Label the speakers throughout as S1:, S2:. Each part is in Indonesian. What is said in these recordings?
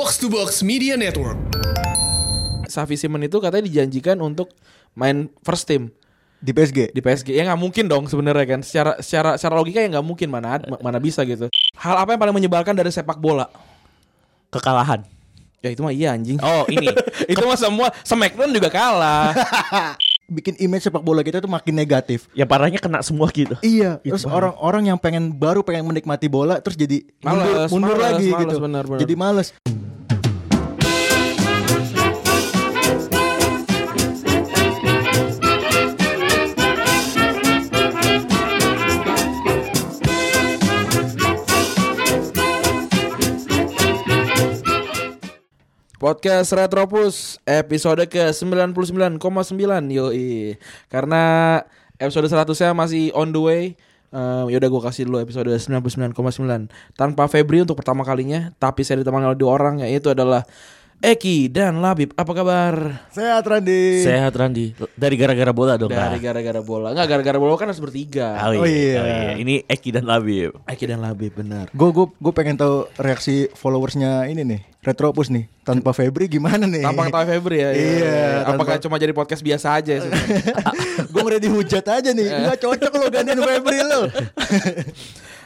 S1: Box to Box Media Network.
S2: Safi Simon itu katanya dijanjikan untuk main first team
S3: di PSG.
S2: di PSG. Ya nggak mungkin dong sebenarnya kan. Secara secara secara logika ya nggak mungkin mana ad- mana bisa gitu. Hal apa yang paling menyebalkan dari sepak bola?
S4: Kekalahan.
S2: Ya itu mah iya anjing.
S4: Oh ini.
S2: itu mah semua Smackdown juga kalah.
S3: Bikin image sepak bola kita tuh makin negatif.
S4: yang Ya, parahnya kena semua gitu.
S3: Iya, terus orang-orang yang pengen baru pengen menikmati bola terus jadi mundur,
S2: Males,
S3: mundur
S2: males,
S3: lagi
S2: males,
S3: gitu.
S2: benar, benar.
S3: Jadi males.
S2: Podcast Retropus episode ke 99,9 yoi Karena episode 100-nya masih on the way eh, Em, Yaudah gue kasih dulu episode 99,9 Tanpa Febri untuk pertama kalinya Tapi saya ditemani oleh dua orang yaitu adalah Eki dan Labib Apa kabar?
S3: Sehat Randy.
S4: Sehat Randi. Dari gara-gara bola dong.
S2: Dari
S4: Kak.
S2: gara-gara bola Nggak gara-gara bola kan harus bertiga
S4: Oh, iya.
S3: Oh, iya.
S4: Oh, iya. Ini Eki dan Labib.
S2: Eki dan Labib benar
S3: Gue gue gue pengen tahu reaksi followersnya ini nih Retropus nih tanpa Febri gimana nih?
S2: Tanpa ketahui Febri ya iya.
S3: Iya,
S2: Apakah
S3: tanpa-
S2: cuma jadi podcast biasa aja ya sebenarnya?
S3: gue udah dihujat aja nih.
S2: Eh.
S3: Enggak cocok lo gantiin Febri lo.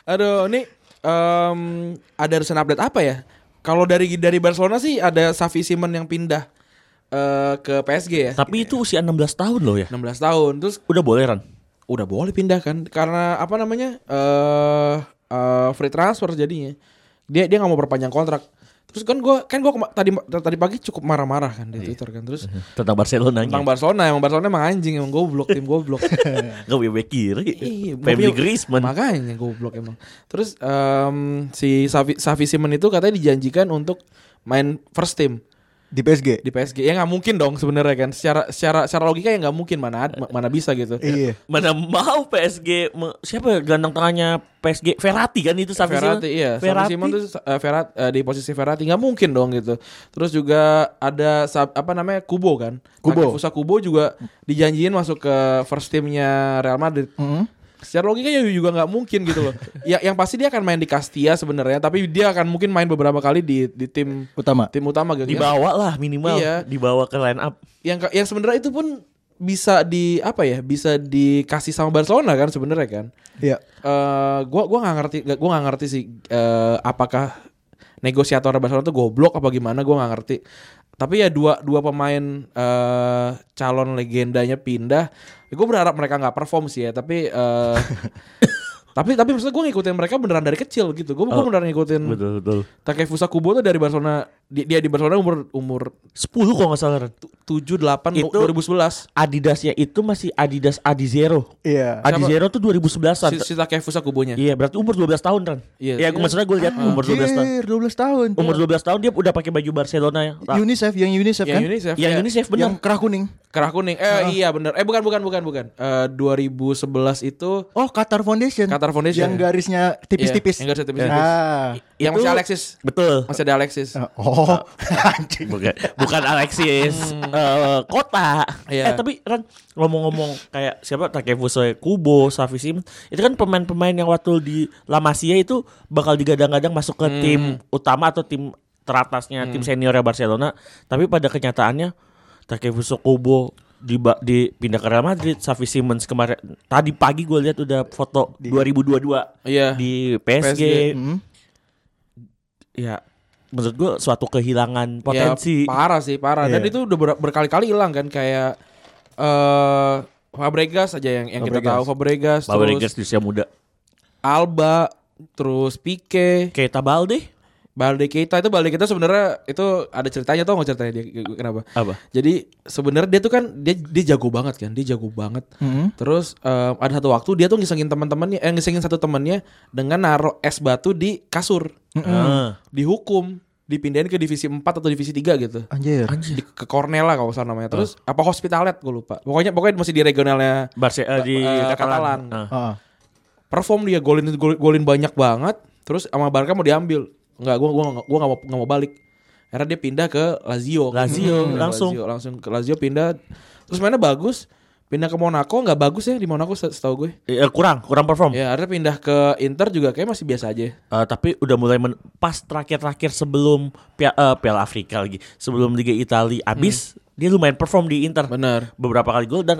S2: Aduh, ini em, ada recent update apa ya? Kalau dari dari Barcelona sih ada Xavi Simon yang pindah eh, ke PSG ya.
S4: Tapi itu usia 16 tahun loh ya.
S2: 16 tahun. Terus
S4: Udah boleh Ran.
S2: udah boleh pindah kan karena apa namanya? eh eh, free transfer jadinya. Dia dia nggak mau perpanjang kontrak. Terus kan gua kan gua kema- tadi tadi pagi cukup marah-marah kan di Twitter kan. Terus
S4: Tentang Barcelona
S2: tentang Barcelona emang Barcelona emang anjing emang goblok tim goblok.
S4: Gak punya back kiri.
S2: Iya,
S4: Family
S2: mobil-
S4: Griezmann.
S2: Makanya goblok emang. Terus em, si Safi, Safi Simon itu katanya dijanjikan untuk main first team
S3: Di PSG.
S2: di PSG. Ya nggak mungkin dong sebenarnya kan. Secara secara secara logika ya nggak mungkin mana ad- ma- mana bisa gitu.
S3: Iya.
S4: Mana mau PSG me- siapa ya gelandang tangannya PSG Verratti kan itu Safi Simon.
S2: Verratti iya. Safi
S4: Verratti.
S2: Simon tuh eh, Verrat- eh, di posisi Verratti nggak mungkin dong gitu. Terus juga ada Sab- apa namanya Kubo kan.
S3: Kubo.
S2: Takefusa Kubo juga dijanjiin masuk ke first teamnya Real Madrid.
S3: Mm.
S2: Secara logika ya juga nggak mungkin gitu loh. ya, yang pasti dia akan main di Castilla sebenarnya, tapi dia akan mungkin main beberapa kali di di tim
S3: Utama.
S2: tim utama gitu. Yang,
S4: Dibawa lah minimal.
S2: Iya.
S4: Dibawa ke line up.
S2: yang ke- yang sebenarnya itu pun bisa di apa ya? Bisa dikasih sama Barcelona kan sebenarnya kan.
S3: Iya.
S2: Eh gua gua nggak ngerti gua nggak ngerti sih eh, apakah negosiator Barcelona tuh goblok apa gimana gua nggak ngerti. Tapi ya dua dua pemain eh calon legendanya pindah. Gue berharap mereka nggak perform sih ya, tapi eh tapi tapi maksudnya gue ngikutin mereka beneran dari kecil gitu. Gue
S4: Oh,
S2: beneran ngikutin
S4: Betul betul.
S2: Takefusa Kubo tuh dari Barcelona dia, dia di Barcelona umur umur
S4: 10 kalau nggak salah Ran.
S2: 7 8
S4: Itu-
S2: 2011.
S4: Adidasnya itu masih Adidas Adizero.
S3: Iya.
S4: Adizero tuh 2011-an.
S2: Si, si Takefusa Kubonya.
S4: Iya, berarti umur 12 tahun, Ran.
S2: Iya,
S4: Iya,
S2: iya.
S4: gua maksudnya gue lihat umur 12 tahun.
S3: Anjir, 12 tahun.
S4: Umur 12 tahun dia udah pakai baju Barcelona ya. Ra-
S3: UNICEF yang UNICEF
S2: Yang
S3: kan?
S2: UNICEF.
S4: yang
S2: ya.
S4: UNICEF
S3: Iya. Yang
S4: benar.
S3: kerah kuning.
S2: Kerah kuning. Eh iya bener. Eh bukan bukan bukan bukan. Eh 2011 itu
S3: Oh, Qatar Foundation.
S2: Qatar Foundation.
S3: Yang garisnya
S2: Iya,
S3: tipis-tipis.
S2: yang garisnya tipis-tipis.
S3: Ah.
S2: yang
S4: Itu-
S2: masih Alexis.
S4: Betul.
S2: Masih ada Alexis.
S3: Oh, anjing.
S4: Bukan, bukan Alexis eh, Kota
S2: Iya.
S4: Eh tapi Ran Ngomong-ngomong kayak Siapa Takefusa Kubo Safi Simon Itu kan pemain-pemain yang waktu di La Masia itu Bakal digadang-gadang masuk
S2: Hmm.
S4: ke tim utama Atau tim teratasnya Tim seniornya Barcelona Tapi pada kenyataannya Takefusa Kubo di dipindah ke Real Madrid Safi Simons kemarin tadi pagi gue lihat udah foto 2022
S2: Iya.
S4: di PSG,
S2: PSG.
S3: Hmm.
S4: ya menurut gue suatu kehilangan potensi
S2: Ya, parah sih, parah. Dan
S3: Iya.
S2: itu udah ber- berkali-kali hilang kan kayak eh Fabregas aja yang yang kita
S3: Fabregas.
S2: tahu Fabregas,
S4: Fabregas
S2: terus
S4: di usia muda.
S2: Alba, terus Pique,
S4: Kayak tabal deh.
S2: Balde kita itu Balde kita sebenarnya itu ada ceritanya tau nggak ceritanya dia kenapa?
S4: Apa?
S2: Jadi sebenarnya dia tuh kan dia dia jago banget kan, dia jago banget.
S3: Hmm.
S2: Terus em, ada satu waktu dia tuh ngisengin teman-temannya, eh, ngisengin satu temannya dengan naruh es batu di kasur,
S4: Ah.
S2: dihukum, dipindahin ke divisi 4 atau divisi 3 gitu.
S3: Anjir.
S2: Di, ke Cornella kalau nggak salah namanya.
S4: Ah.
S2: Terus apa hospitalet gue lupa. Pokoknya pokoknya masih di regionalnya
S4: Barce eh, di
S2: Eh, Catalan.
S4: Catalan. Ah.
S3: Ah.
S2: perform dia golin golin, golin banyak banget terus sama Barca mau diambil nggak gua gua nggak- gua nggak mau nggak mau balik akhirnya dia pindah ke Lazio
S4: Lazio,
S2: Pindah ke
S4: langsung.
S2: Lazio, langsung ke Lazio pindah terus mainnya bagus pindah ke Monaco nggak bagus ya di Monaco se- setahu gue.
S4: Eh, kurang, kurang perform.
S2: Ya, akhirnya pindah ke Inter juga kayak masih biasa aja.
S4: Eh, tapi udah mulai men- pas terakhir-terakhir sebelum Pia- eh, Piala Afrika lagi, sebelum Liga Italia habis,
S2: Hmm.
S4: dia lumayan perform di Inter.
S2: Bener.
S4: Beberapa kali gol dan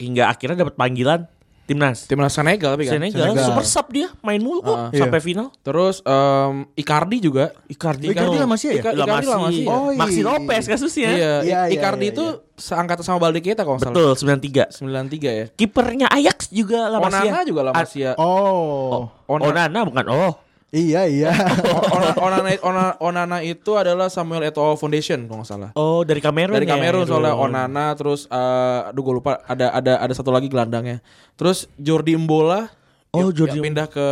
S4: hingga akhirnya dapat panggilan timnas.
S2: Timnas Senegal tapi kan.
S4: Senegal,
S3: Senegal.
S4: super sub dia, main mulu
S2: Ah.
S4: kok sampai final.
S2: Terus em, Icardi juga.
S4: Icardi,
S3: Icardi
S4: kan-
S3: lah masih ya?
S4: Ica-
S2: Lah
S4: Icardi lah
S2: masih.
S4: masih.
S3: Oh, iya.
S4: Maxi Lopez kasusnya.
S2: Iya,
S3: Iya,
S2: I-
S3: iya,
S2: Icardi
S3: iya,
S2: itu seangkatan sama Balde kita kalau nggak salah.
S4: Betul, 93.
S2: 93 ya.
S4: Kipernya Ajax juga La Masia.
S2: Onana juga lah
S4: Ah,
S2: Masia.
S3: Oh.
S2: Onana-
S4: Onana bukan. Oh.
S3: Iya iya.
S2: Onana, Onana, Onana, Onana itu adalah Samuel Eto'o Foundation kalau nggak salah.
S4: Oh, dari Kamerun
S2: Dari
S4: ya?
S2: Kamerun soalnya
S4: Aduh.
S2: Onana terus eh, aduh gue lupa ada ada ada satu lagi gelandangnya. Terus Jordi Mbola yang-
S4: Oh,
S2: yang
S4: Jordi
S2: pindah ke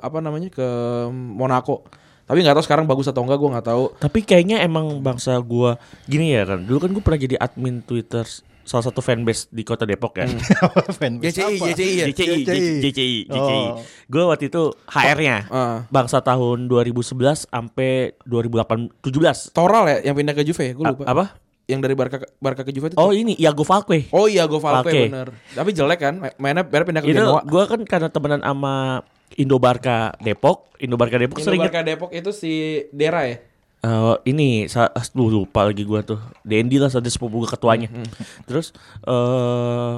S2: apa namanya ke Monaco. Tapi nggak tahu sekarang bagus atau enggak gue nggak tahu.
S4: Tapi kayaknya emang bangsa gua gini ya, Ran. Dulu kan gua pernah jadi admin Twitter salah satu fanbase di Kota Depok ya.
S2: Hmm.
S3: Fanbase
S2: Iya,
S3: apa?
S4: JCI,
S3: JCI.
S4: JCI, JCI.
S3: Oh.
S4: Gue waktu itu HR-nya.
S2: Ah.
S4: Bangsa tahun 2011 sampai 2017.
S2: Toral ya yang pindah ke Juve ya, gue lupa.
S4: Apa?
S2: Yang dari Barca ke- Barca ke Juve itu.
S4: Oh, ini Iago Falque.
S2: Oh iya gue Falque
S4: Falque.
S2: bener. Tapi jelek kan, ma- mainnya mainnya pindah ke
S4: itu
S2: Genoa.
S4: gue kan karena temenan sama Indo Barca Depok, Indo Barca Depok
S2: Indo
S4: sering
S2: Barca Depok itu si Dera ya.
S4: Eh, ini sa- aduh, lupa lagi gue tuh. Dendi lah ada sepupu gue ketuanya.
S2: Hmm,
S4: Terus eh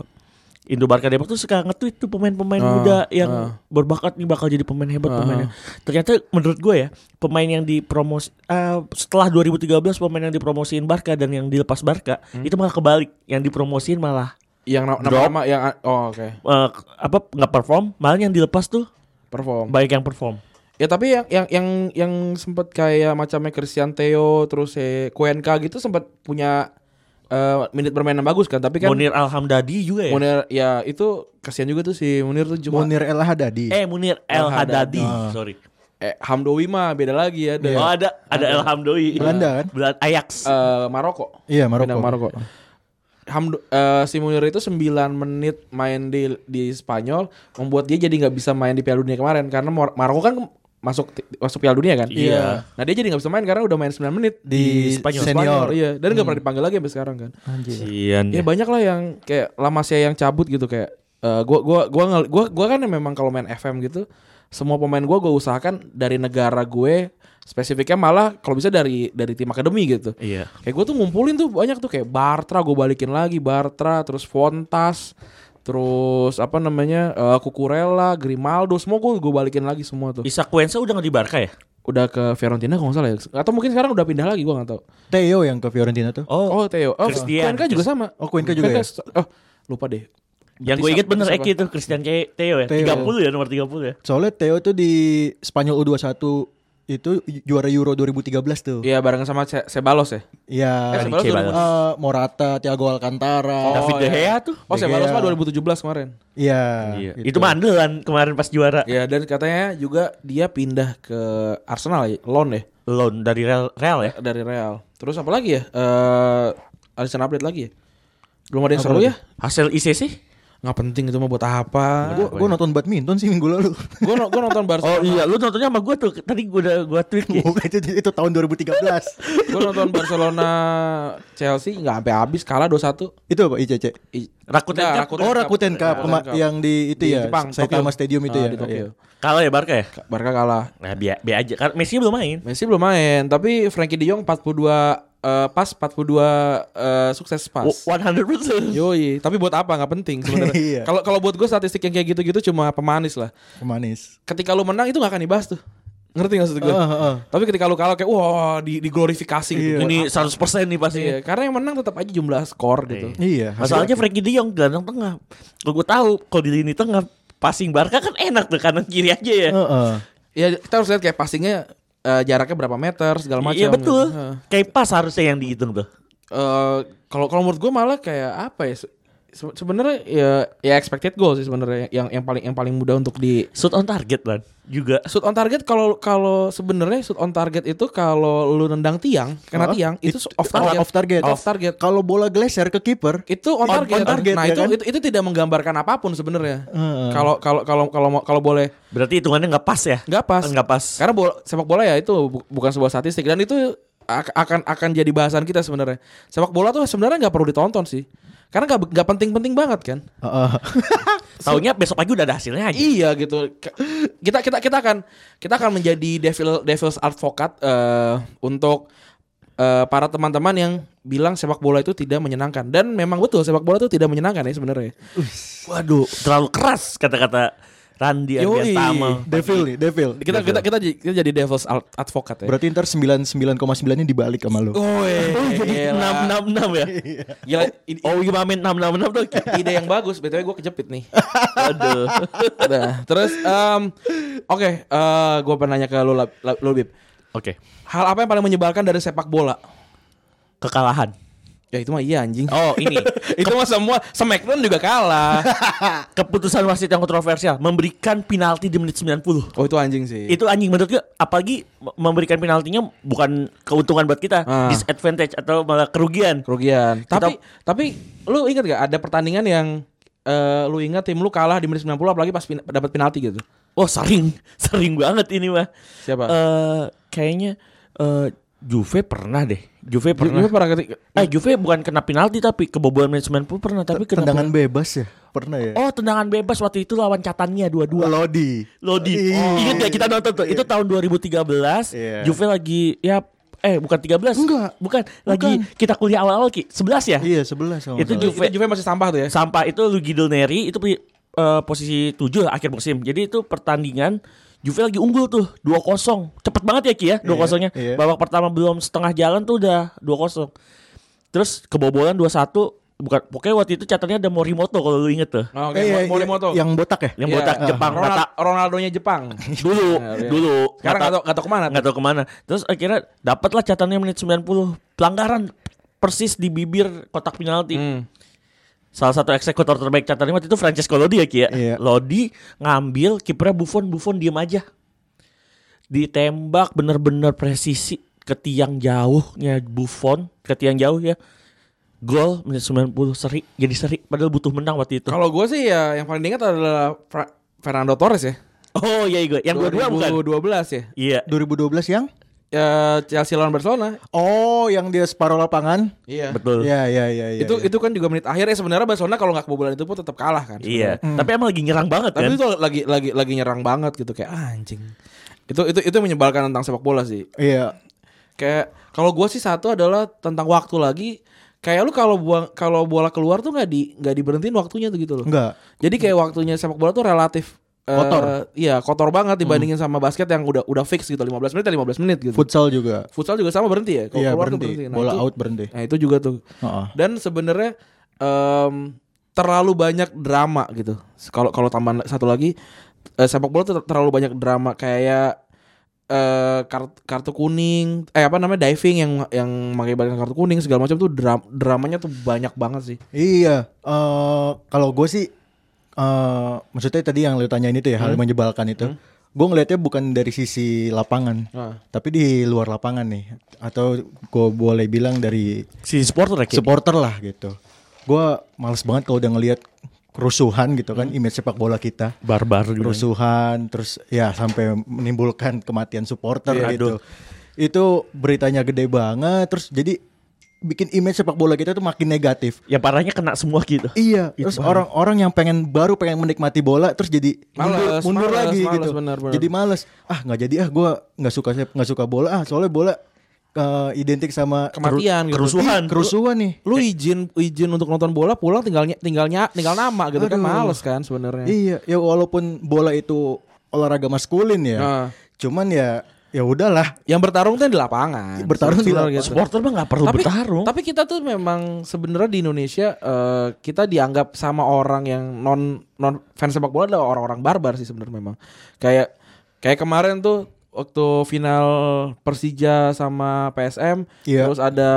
S4: Indo Barca Depok tuh suka nge-tweet tuh pemain-pemain
S2: Ah,
S4: muda yang
S2: ah.
S4: berbakat nih bakal jadi pemain hebat
S2: Ah,
S4: pemainnya. Ternyata menurut gue ya, pemain yang dipromosi eh, setelah 2013 pemain yang dipromosiin Barca dan yang dilepas Barca
S2: Hmm.
S4: itu malah kebalik, yang dipromosiin malah
S2: Yang na-
S4: Drop.
S2: nama-nama yang oh oke,
S4: eh, apa nggak perform, malah yang dilepas tuh
S2: perform.
S4: banyak yang perform.
S2: Ya tapi yang yang yang yang sempat kayak macamnya Christian Theo terus eh Cuenca gitu sempat punya eh, menit bermain yang bagus kan, tapi kan Munir,
S4: Munir Alhamdadi juga ya.
S2: ya itu kasihan juga tuh si Munir tuh cuma
S3: Munir El Hadadi.
S4: Eh Munir El
S2: El
S4: Hadadi, sorry.
S2: eh, Hamdowi mah beda lagi ya dari
S4: Oh ada ada El Hamdoi.
S3: Belanda kan?
S4: Belanda Ah. Ajax.
S2: eh, Maroko.
S3: Iya Maroko.
S2: Pindah ke Maroko. Hamdo, eh, si Munir itu 9 menit main di di Spanyol membuat dia jadi nggak bisa main di Piala Dunia kemarin karena Mor- Maroko kan masuk ti- masuk Piala Dunia kan.
S4: Iya.
S2: Nah, dia jadi nggak bisa main karena udah main 9 menit
S3: Di
S4: Spanyol.
S3: senior. Hmm. Iya.
S2: iya, dan nggak pernah dipanggil lagi sampai sekarang kan.
S3: Anjir.
S4: Sian
S2: Ya banyak lah yang kayak Lamasya yang cabut gitu kayak eh, gua gua gua ngel- gua gua kan memang kalau main FM gitu semua pemain gua gua usahakan dari negara gue spesifiknya malah kalau bisa dari dari tim akademi gitu.
S4: Iya.
S2: Kayak gue tuh ngumpulin tuh banyak tuh kayak Bartra gue balikin lagi Bartra terus Fontas terus apa namanya eh, Cucurella Grimaldo semua gue gue balikin lagi semua tuh
S4: Isak Wensa udah nggak di Barca ya?
S2: udah ke Fiorentina kalau nggak salah ya atau mungkin sekarang udah pindah lagi gue nggak tahu
S3: Theo yang ke Fiorentina tuh.
S4: Oh,
S2: oh Theo oh
S4: Christian.
S2: Cuenca juga sama
S3: Oh, Cuenca juga ya?
S2: oh lupa deh
S4: yang gue
S2: Betis
S4: inget
S2: apa-
S4: bener
S2: Betis
S4: Eki itu Christian Ke- Theo ya.
S3: Theo.
S4: 30 ya nomor 30 ya.
S3: Soalnya Theo tuh di Spanyol U21 itu juara Euro 2013 tuh.
S2: Iya bareng sama Ce- Ceballos ya
S3: Iya.
S2: Eh, Ceballos
S4: Ceballos.
S2: dulu.
S3: Eh, Morata, Thiago Alcantara.
S4: David De
S2: iya.
S4: Gea tuh.
S2: Oh
S3: De
S2: Ceballos
S3: Gea.
S2: mah 2017 kemarin
S3: Iya.
S4: Itu mandelan kemarin pas juara.
S2: Ya dan katanya juga dia pindah ke Arsenal ya loan ya
S4: Loan dari Real, Real ya.
S2: dari Real terus apa lagi ya eh Alisson update lagi ya belum ada yang seru ya
S4: Hasil ICC?
S2: nggak penting itu mah buat apa
S3: Gue gue nonton badminton sih minggu lalu.
S2: gue gue nonton Barcelona
S4: Oh iya, lu nontonnya sama gue tuh. Tadi gue udah gue tweet
S2: Iya.
S4: Ki.
S3: itu itu tahun 2013.
S2: gue nonton Barcelona Chelsea nggak sampai habis kalah 2-1
S3: itu apa ICC?
S2: I-
S4: Rakuten
S2: Nggak,
S4: Cup.
S3: Oh Rakuten Cup kema- yang di itu
S2: Di
S3: ya.
S2: Jepang,
S3: Saitama
S2: Tokyo.
S3: Stadium itu
S2: Ah,
S3: ya.
S2: di Tokyo.
S3: Iya.
S4: Kalah ya Barca ya?
S2: Barca kalah
S4: Nah, biar aja. Karena Messi belum main.
S2: Messi belum main tapi Frankie De Jong 42 eh, pas 42 eh, sukses pas
S4: W- 100%.
S2: Yoi, tapi buat apa nggak penting
S3: Iya.
S2: sebenarnya. Kalau kalau buat gue statistik yang kayak gitu-gitu cuma pemanis lah.
S3: Pemanis.
S2: Ketika lu menang itu nggak akan dibahas tuh. Ngerti nggak maksud gue?
S3: Ah, ah, ah.
S2: Tapi ketika lu kalah kayak wah di diglorifikasi gitu.
S4: Ini 100% nih pasti.
S2: Iya, karena yang menang tetap aja jumlah skor gitu.
S3: Iya.
S4: Masalahnya Frankie De Jong gelandang tengah. Kalau gue tahu kalau di lini tengah passing Barca kan enak tuh kanan kiri aja ya.
S3: Heeh.
S2: Ya kita harus lihat kayak passingnya eh, jaraknya berapa meter segala macam.
S4: Iya betul.
S2: gitu. Heeh.
S4: Kayak pas harusnya yang dihitung tuh.
S2: Eh, Kalau kalau menurut gue malah kayak apa ya? se- se- Sebenarnya ya ya expected goal sih sebenarnya yang yang paling yang paling mudah untuk di
S4: Shoot on target lan juga.
S2: shoot on target kalau kalau sebenarnya shoot on target itu kalau lu nendang tiang kena
S3: Oh,
S2: tiang itu off target
S3: Off target.
S2: off target
S3: Kalau bola geleser ke kiper,
S2: itu on
S3: On-
S2: target,
S3: on target,
S2: nah
S3: ya
S2: itu,
S3: kan? Hmm.
S2: itu itu tidak menggambarkan apapun sebenarnya
S3: Heeh.
S2: kalau kalau kalau kalau mau- kalau boleh
S4: Berarti hitungannya nggak pas ya?
S2: nggak pas
S4: Nggak pas.
S2: karena bola, sepak bola ya itu bu- bukan sebuah statistik dan itu ak- akan akan jadi bahasan kita sebenarnya. Sepak bola tuh sebenarnya nggak perlu ditonton sih. Karena nggak nggak penting-penting banget kan.
S3: Heeh.
S4: Taunya besok pagi udah ada hasilnya aja.
S2: Iya gitu. K- Kita kita kita akan kita akan menjadi devil devil's advocate eh, untuk eh, para teman-teman yang bilang sepak bola itu tidak menyenangkan dan memang betul sepak bola itu tidak menyenangkan ya sebenarnya.
S4: Waduh, terlalu keras kata-kata Randi
S2: Yoi.
S4: Agastama.
S3: devil nih, devil.
S2: Kita kita kita, j- kita jadi devil's ad- advocate ya.
S3: Berarti ntar 99,9-nya dibalik sama lu.
S2: Woi,
S4: Enam
S2: gila.
S4: enam enam ya.
S2: iya, Gila, i-
S4: Oh, gimana main enam enam enam tuh?
S2: ide yang bagus. BTW gue kejepit nih.
S4: Aduh.
S2: Nah, terus em, oke, eh, gue pengen nanya ke lu, Lab- Lab- lu Bib.
S4: Oke,
S2: Hal apa yang paling menyebalkan dari sepak bola?
S4: kekalahan.
S2: Ya itu mah iya anjing.
S4: Oh, ini
S2: itu mah semua Smackdown juga kalah.
S4: keputusan wasit yang kontroversial memberikan penalti di menit 90.
S2: oh itu anjing sih.
S4: itu anjing menurut gue apalagi me- memberikan penaltinya bukan keuntungan buat kita
S2: Ah.
S4: disadvantage atau malah kerugian
S2: kerugian.
S4: Kita-
S2: Tapi tapi lu ingat gak ada pertandingan yang eh, lu ingat tim lu kalah di menit 90 apalagi pas pin- dapat penalti gitu.
S4: oh sering sering banget ini mah
S2: Siapa?
S4: Eh, kayaknya eh, Juve pernah deh Juve
S2: Ju-
S4: pernah
S2: Juve pernah keti-
S4: eh Juve bukan kena penalti tapi kebobolan menit 90 pernah tapi kena
S3: Tendangan bebas ya? Pernah ya?
S4: pen- oh tendangan bebas waktu itu lawan catannya dua-dua
S3: Lodi.
S4: Lodi
S3: Oh.
S4: ingat gak kita nonton tuh itu tahun 2013
S3: Iya.
S4: Juve lagi ya eh bukan 13
S3: Enggak.
S4: bukan lagi kita kuliah awal-awal Ki 11 ya
S3: Iya, 11 sama
S4: Itu
S3: salah.
S4: Juve.
S2: Itu Juve masih sampah tuh ya.
S4: sampah itu Luigi Del Neri itu pri- eh, posisi 7 lah akhir musim. Jadi itu pertandingan Juve lagi unggul tuh 2-0. Cepet banget ya Ki ya 2-0-nya.
S3: iya.
S4: Babak pertama belum setengah jalan tuh udah 2-0. Terus kebobolan 2-1 bukan pokoknya waktu itu catatannya ada Morimoto kalau lu inget tuh.
S2: Oh, Oke,
S3: Eh, iya,
S2: Mo-
S3: iya,
S2: Morimoto.
S3: Yang botak ya?
S4: Yang botak
S2: Iya.
S4: Jepang
S2: Ronald-
S4: rata
S2: Ronaldonya Jepang.
S4: dulu
S2: Iya, iya.
S4: dulu.
S2: Sekarang
S4: Rata-
S2: nggak tahu nggak tahu kemana.
S4: nggak tahu kemana. Terus akhirnya dapatlah catatannya menit 90 pelanggaran persis di bibir kotak penalti.
S2: Hmm.
S4: Salah satu eksekutor terbaik catatan waktu itu Francesco Lodi ya Ki ya.
S3: Iya.
S4: Lodi ngambil kipernya Buffon, Buffon diem aja. Ditembak bener-bener presisi ke tiang jauhnya Buffon, ke tiang jauh ya. Gol menit 90 seri, jadi seri padahal butuh menang waktu itu.
S2: Kalau gue sih ya yang paling diingat adalah Fra- Fernando Torres ya.
S4: Oh iya gue, yang dua-dua bukan?
S2: 2012 ya.
S4: Iya.
S3: 2012 yang?
S2: Ya, Chelsea lawan Barcelona.
S3: Oh, yang dia separuh lapangan.
S2: Iya.
S4: Betul.
S3: Iya, iya, iya, iya.
S2: itu
S3: iya.
S2: itu kan juga menit akhir ya sebenarnya Barcelona kalau nggak kebobolan itu pun tetap kalah kan.
S4: Iya. Tapi emang lagi nyerang banget
S2: Tapi
S4: kan?
S2: itu lagi lagi lagi nyerang banget gitu kayak ah, anjing. Itu itu itu menyebalkan tentang sepak bola sih.
S3: Iya.
S2: Kayak kalau gua sih satu adalah tentang waktu lagi kayak lu kalau buang kalau bola keluar tuh nggak di nggak diberhentiin waktunya tuh gitu loh.
S3: Enggak.
S2: Jadi kayak waktunya sepak bola tuh relatif eh,
S3: Kotor. Hmm.
S2: iya, kotor banget dibandingin sama basket yang udah udah fix gitu 15 menit ya 15 menit gitu.
S3: Futsal juga.
S2: Futsal juga sama berhenti ya. Kalau
S3: Iya,
S2: keluar tuh
S3: berhenti.
S2: Nah,
S3: Bola
S2: itu-
S3: out berhenti.
S2: Nah, itu juga tuh.
S3: Heeh.
S2: Dan sebenarnya em, terlalu banyak drama gitu. Kalau kalau tambahan satu lagi eh, sepak bola tuh ter- terlalu banyak drama kayak eh kartu, kartu kuning eh apa namanya diving yang yang mengakibatkan kartu kuning segala macam tuh dra- dramanya tuh banyak banget sih.
S3: Iya, eh kalau gue sih, eh maksudnya tadi yang lu tanyain itu ya hal
S2: Hmm?
S3: yang menyebalkan itu, gue ngelihatnya bukan dari sisi lapangan,
S2: Ah.
S3: tapi di luar lapangan nih, atau gue boleh bilang dari
S4: Si supporter ya Ki?
S3: supporter lah gitu. Gue males banget kalau udah ngelihat kerusuhan gitu
S2: Hmm?
S3: kan, image sepak bola kita,
S4: Barbar
S2: gitu.
S4: juga.
S3: kerusuhan, terus ya sampai menimbulkan kematian supporter
S4: Iya,
S3: gitu. Itu beritanya gede banget, terus jadi bikin image sepak bola kita tuh makin negatif.
S4: Yang ya parahnya kena semua gitu.
S3: Iya, terus orang-orang yang pengen baru pengen menikmati bola terus jadi
S2: Males,
S3: mundur, mundur
S2: males,
S3: lagi
S2: males,
S3: gitu.
S2: benar, benar.
S3: Jadi males. Ah, nggak jadi ah gua nggak suka nggak suka bola ah soalnya bola eh, identik sama
S2: Kematian gitu.
S4: Kerusuhan.
S3: kerusuhan nih.
S2: Lu izin izin untuk nonton bola pulang tinggalnya tinggalnya tinggal nama gitu kan
S3: Aduh.
S2: males kan sebenarnya.
S3: Iya, ya walaupun bola itu olahraga maskulin ya.
S2: Ah.
S3: Cuman ya ya udahlah.
S2: Yang bertarung tuh yang di lapangan.
S3: Bertarung di
S2: Sebenarnya
S3: lapangan.
S2: gitu.
S4: Supporter mah nggak perlu
S2: tapi,
S4: bertarung.
S2: Tapi kita tuh memang sebenarnya di Indonesia eh, kita dianggap sama orang yang non non fans sepak bola adalah orang-orang barbar sih sebenarnya memang. Kayak kayak kemarin tuh waktu final Persija sama PSM
S3: Iya.
S2: terus ada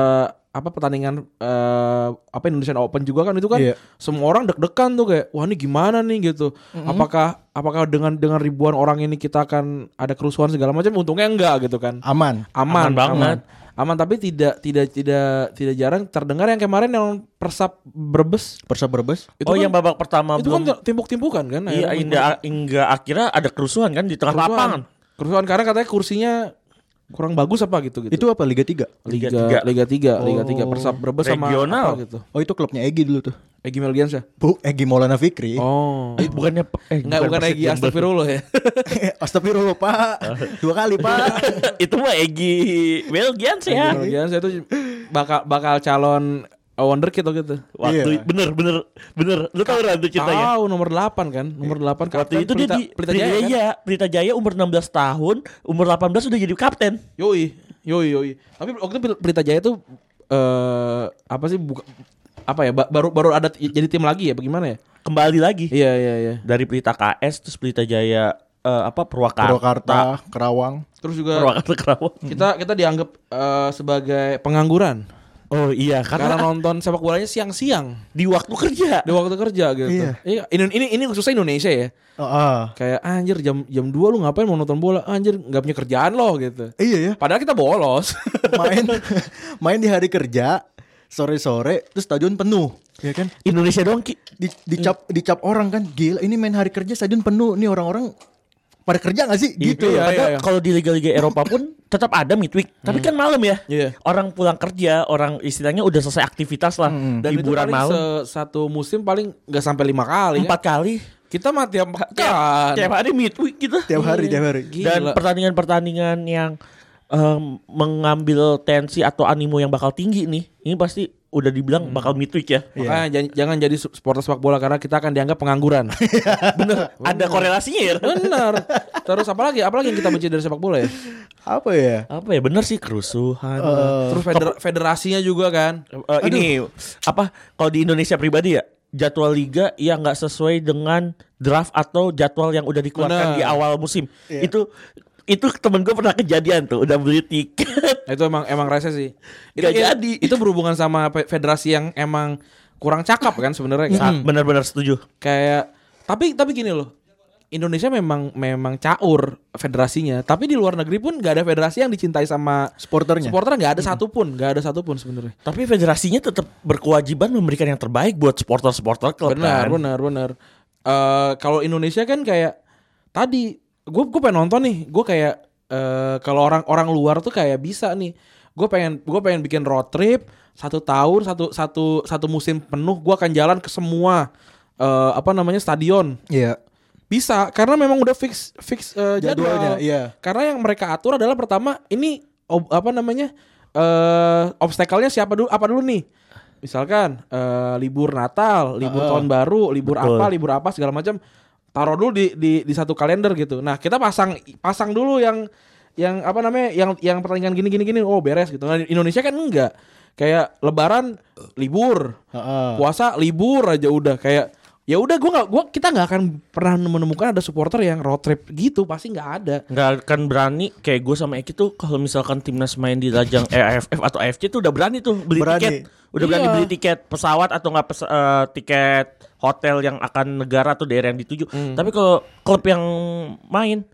S2: apa pertandingan eh, apa Indonesian Open juga kan itu kan
S3: Iya.
S2: semua orang deg-degan tuh kayak wah ini gimana nih gitu. Apakah apakah dengan dengan ribuan orang ini kita akan ada kerusuhan segala macam untungnya enggak gitu kan
S3: Aman.
S2: aman,
S4: Aman banget.
S2: aman, Aman, tapi tidak tidak tidak tidak jarang terdengar yang kemarin yang persap berbes
S3: Persib Brebes.
S2: itu
S4: oh
S2: kan,
S4: yang babak pertama
S2: itu
S4: belum
S2: kan timpuk-timpukan kan akhirnya
S4: Iya, hingga, hingga akhirnya ada kerusuhan kan di tengah
S2: kerusuhan.
S4: lapangan.
S2: kerusuhan karena katanya kursinya kurang bagus apa gitu gitu.
S3: Itu apa Liga 3?
S2: Liga 3,
S4: Liga
S2: Liga 3, Liga
S3: Oh.
S2: 3 Persib Brebes sama
S4: Regional.
S2: apa gitu.
S3: Oh itu klubnya Egi dulu tuh.
S2: Egi Melgiansyah.
S3: Bu Egi Maulana Fikri.
S2: Oh.
S4: Eh, bukannya eh,
S2: Enggak bukan
S4: Persib,
S2: Egi
S4: bukan.
S2: Astagfirullah ya.
S3: Astagfirullah Pak. Dua kali Pak.
S4: itu mah Egi Belgian sih ya.
S2: Egi Melgiansyah itu bakal bakal calon wonderkid waktu gitu.
S4: Waktu
S3: Iya.
S4: bener bener bener. Lu tahu kan tuh ceritanya?
S2: Tahu nomor 8 kan? Nomor 8
S4: Waktu itu dia di Pelita Jaya,
S2: kan?
S4: Pelita Jaya umur 16 tahun, umur 18 sudah jadi kapten.
S2: Yoi, yoi, yoi. Tapi waktu itu Pelita Jaya itu eh apa sih buka, apa ya ba- baru baru ada t- jadi tim lagi ya bagaimana ya?
S4: Kembali lagi
S2: Iya, iya, iya.
S4: dari Pelita KS terus Pelita Jaya eh, apa Purwakarta.
S3: Purwakarta, Kerawang.
S2: Terus juga
S4: Purwakarta Kerawang.
S2: kita kita dianggap eh, sebagai pengangguran
S4: Oh iya,
S2: karena
S4: karena
S2: nonton sepak bolanya siang-siang
S4: di waktu kerja.
S2: di waktu kerja gitu.
S3: Iya.
S2: Iya, ini ini ini khususnya Indonesia ya.
S3: Oh, ah.
S2: Kayak anjir jam jam 2 lu ngapain mau nonton bola? Anjir nggak punya kerjaan loh gitu.
S3: Iya ya.
S2: Padahal kita bolos.
S3: Main main di hari kerja sore-sore terus stadion penuh. Ya kan?
S4: Indonesia doang Ki.
S3: Di, dicap dicap orang kan gila ini main hari kerja stadion penuh nih orang-orang pada kerja gak sih gitu
S2: Iya,
S4: Padahal
S2: iya.
S4: Eh, kalau di liga-liga Eropa pun tetap ada midweek, tapi kan malam ya.
S2: Iya.
S4: Orang pulang kerja, orang istilahnya udah selesai aktivitas lah,
S2: Hmm. Dan itu
S4: hiburan
S2: paling
S4: malam.
S2: se- satu musim paling nggak sampai lima kali.
S4: Empat Iya,
S2: Empat.
S4: kali.
S2: Kita kan. mah tiap
S4: Tiap,
S2: pekan.
S4: tiap hari midweek gitu.
S3: tiap hari tiap hari
S2: Gila.
S4: Dan pertandingan-pertandingan yang em, mengambil tensi atau animo yang bakal tinggi nih, ini pasti udah dibilang bakal midweek ya.
S2: Makanya jan- jangan jadi su- supporter sepak bola karena kita akan dianggap pengangguran.
S4: Bener, ada korelasinya ya.
S2: Bener. Terus apalagi apalagi yang kita benci dari sepak bola ya?
S3: apa ya
S4: Apa ya bener sih kerusuhan.
S2: Terus feder- federasinya juga kan.
S4: Eh, ini apa kalau di Indonesia pribadi ya jadwal liga yang nggak sesuai dengan draft atau jadwal yang udah dikeluarkan
S2: Benar.
S4: di awal musim itu itu temen gue pernah kejadian tuh udah beli tiket
S2: Nah, Itu emang emang rese sih. Itu
S4: Nggak
S2: itu-
S4: jadi.
S2: Itu berhubungan sama pe- federasi yang emang kurang cakap kan sebenarnya kan.
S4: Saat benar-benar setuju
S2: Kayak tapi tapi gini loh. Indonesia memang memang caur federasinya, tapi di luar negeri pun nggak ada federasi yang dicintai sama
S3: supporternya
S2: supporter nggak ada satupun, nggak ada satupun sebenarnya.
S4: tapi federasinya tetap berkewajiban memberikan yang terbaik buat supporter-supporter klub
S2: Benar,
S4: kan?
S2: benar, benar. Eh, kalau Indonesia kan kayak tadi gue gue pengen nonton nih, gue kayak eh, kalau orang orang luar tuh kayak bisa nih. Gue pengen gue pengen bikin road trip satu tahun satu satu satu musim penuh gue akan jalan ke semua eh, apa namanya stadion
S3: iya
S2: bisa karena memang udah fix fix eh, jadwal.
S3: Jadwalnya, iya.
S2: Karena yang mereka atur adalah pertama ini ob- apa namanya? eh obstacle-nya siapa dulu apa dulu nih? Misalkan eh, libur Natal, libur tahun baru, libur
S4: Betul.
S2: apa, libur apa segala macam taruh dulu di, di di satu kalender gitu. Nah, kita pasang pasang dulu yang yang apa namanya? yang yang pertandingan gini gini gini oh beres gitu. Nah, di Indonesia kan enggak. Kayak lebaran libur,
S3: Heeh.
S2: puasa libur aja udah kayak ya udah gua nggak gua kita nggak akan pernah menemukan ada supporter yang road trip gitu pasti nggak ada
S4: nggak akan berani kayak gue sama Eki tuh kalau misalkan timnas main di eh, lajang AFF atau AFC tuh udah berani tuh beli
S3: Berani.
S4: tiket udah berani
S2: Iya.
S4: beli tiket pesawat atau nggak pes- eh, tiket hotel yang akan negara atau daerah yang dituju tapi kalau klub yang main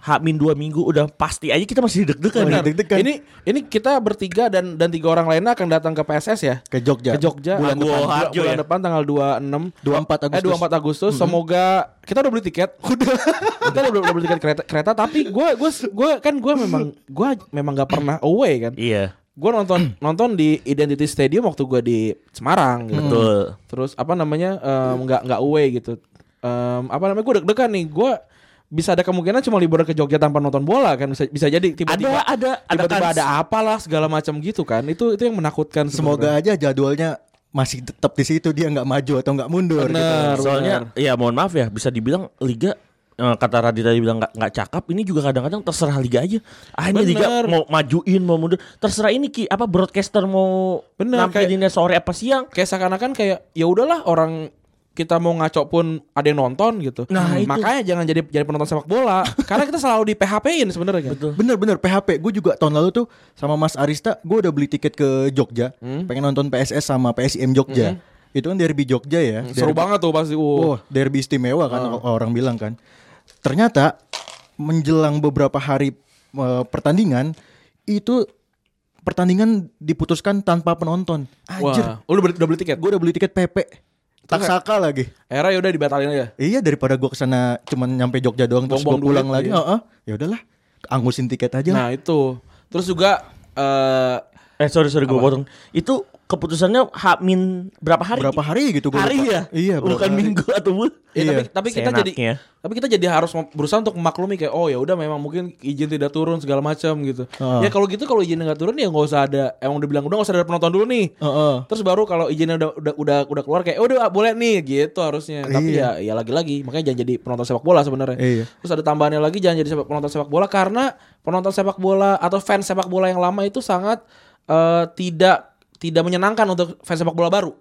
S4: Hamin dua minggu udah pasti aja kita masih deg-degan
S3: Benar. Deg-degan.
S2: ini ini kita bertiga dan dan tiga orang lainnya akan datang ke PSS ya
S3: ke Jogja
S2: ke Jogja
S4: Bulan
S2: Agustus-
S4: depan.
S2: bulan,
S4: Harjo
S2: bulan
S4: ya?
S2: depan tanggal 26 eh
S3: 24 Agustus
S2: 24 Agustus semoga kita udah beli tiket udah kita udah, udah beli tiket kereta kereta tapi gua gua gua kan gua memang gua memang nggak pernah away kan
S4: iya
S2: gua nonton nonton di Identity Stadium waktu gua di Semarang gitu.
S4: betul
S2: terus apa namanya em, nggak nggak away gitu Em, apa namanya gue deg-degan nih gue bisa ada kemungkinan cuma liburan ke Jogja tanpa nonton bola kan bisa bisa jadi tiba-tiba
S4: ada ada ada
S2: tiba-tiba
S4: kans.
S2: ada apalah segala macam gitu kan itu itu yang menakutkan
S3: semoga aja jadwalnya masih tetap di situ dia nggak maju atau nggak mundur gitu.
S2: benar
S4: Soalnya ya mohon maaf ya bisa dibilang liga eh, kata Radit tadi bilang nggak nggak cakep ini juga kadang-kadang terserah liga aja ah ini liga
S2: Bener.
S4: mau majuin mau mundur terserah ini ki apa broadcaster mau
S2: Bener,
S4: nampilinnya sore apa siang
S2: kayak seakan-akan kayak ya udahlah orang kita mau ngaco pun ada yang nonton gitu
S4: Nah, itu.
S2: makanya jangan jadi jadi penonton sepak bola karena kita selalu di PHP-in sebenarnya kan
S4: Betul.
S3: Bener-bener PHP Gue juga tahun lalu tuh Sama Mas Arista Gue udah beli tiket ke Jogja
S2: Hmm?
S3: Pengen nonton PSS sama PSIM Jogja Itu kan derby Jogja ya
S2: Hmm, seru
S3: derby,
S2: banget Ah. tuh pasti wow.
S3: Wah, derby istimewa kan Orang bilang kan Ternyata Menjelang beberapa hari eh, Pertandingan Itu Pertandingan diputuskan tanpa penonton Anjir
S2: wah Oh, lu udah beli, udah beli tiket
S3: Gue udah beli tiket PP Taksaka lagi
S2: era ya udah dibatalin aja
S3: Iya daripada gua kesana cuman nyampe Jogja doang terus gua
S2: Buang-buang
S3: pulang
S2: duit,
S3: lagi.
S2: iya.
S3: Heeh. Ya udahlah. anggusin tiket aja
S2: Nah
S3: lah.
S2: itu. Terus juga eh
S4: Eh sorry sorry gue potong. Itu keputusannya hamin berapa hari?
S3: berapa hari gitu gua
S4: Hari
S3: lupa.
S4: ya?
S3: Iya, berapa
S4: Bukan
S3: hari.
S4: minggu atau bulan.
S2: ya,
S3: Iya.
S2: tapi tapi kita jadi
S4: Seenaknya.
S2: tapi kita jadi harus mem- berusaha untuk memaklumi kayak oh ya udah memang mungkin izin tidak turun segala macam gitu.
S3: Heeh.
S2: Ya kalau gitu kalau izin nggak turun ya nggak usah ada emang udah bilang udah nggak usah ada penonton dulu nih.
S3: Heeh.
S2: Terus baru kalau izinnya udah udah udah, udah keluar kayak oh udah boleh nih gitu harusnya. Tapi ya ya lagi-lagi makanya jangan jadi penonton sepak bola sebenarnya.
S3: Iya.
S2: Terus ada tambahannya lagi jangan jadi sepak, penonton sepak bola karena penonton sepak bola atau fans sepak bola yang lama itu sangat eh, tidak tidak menyenangkan untuk fans sepak bola baru.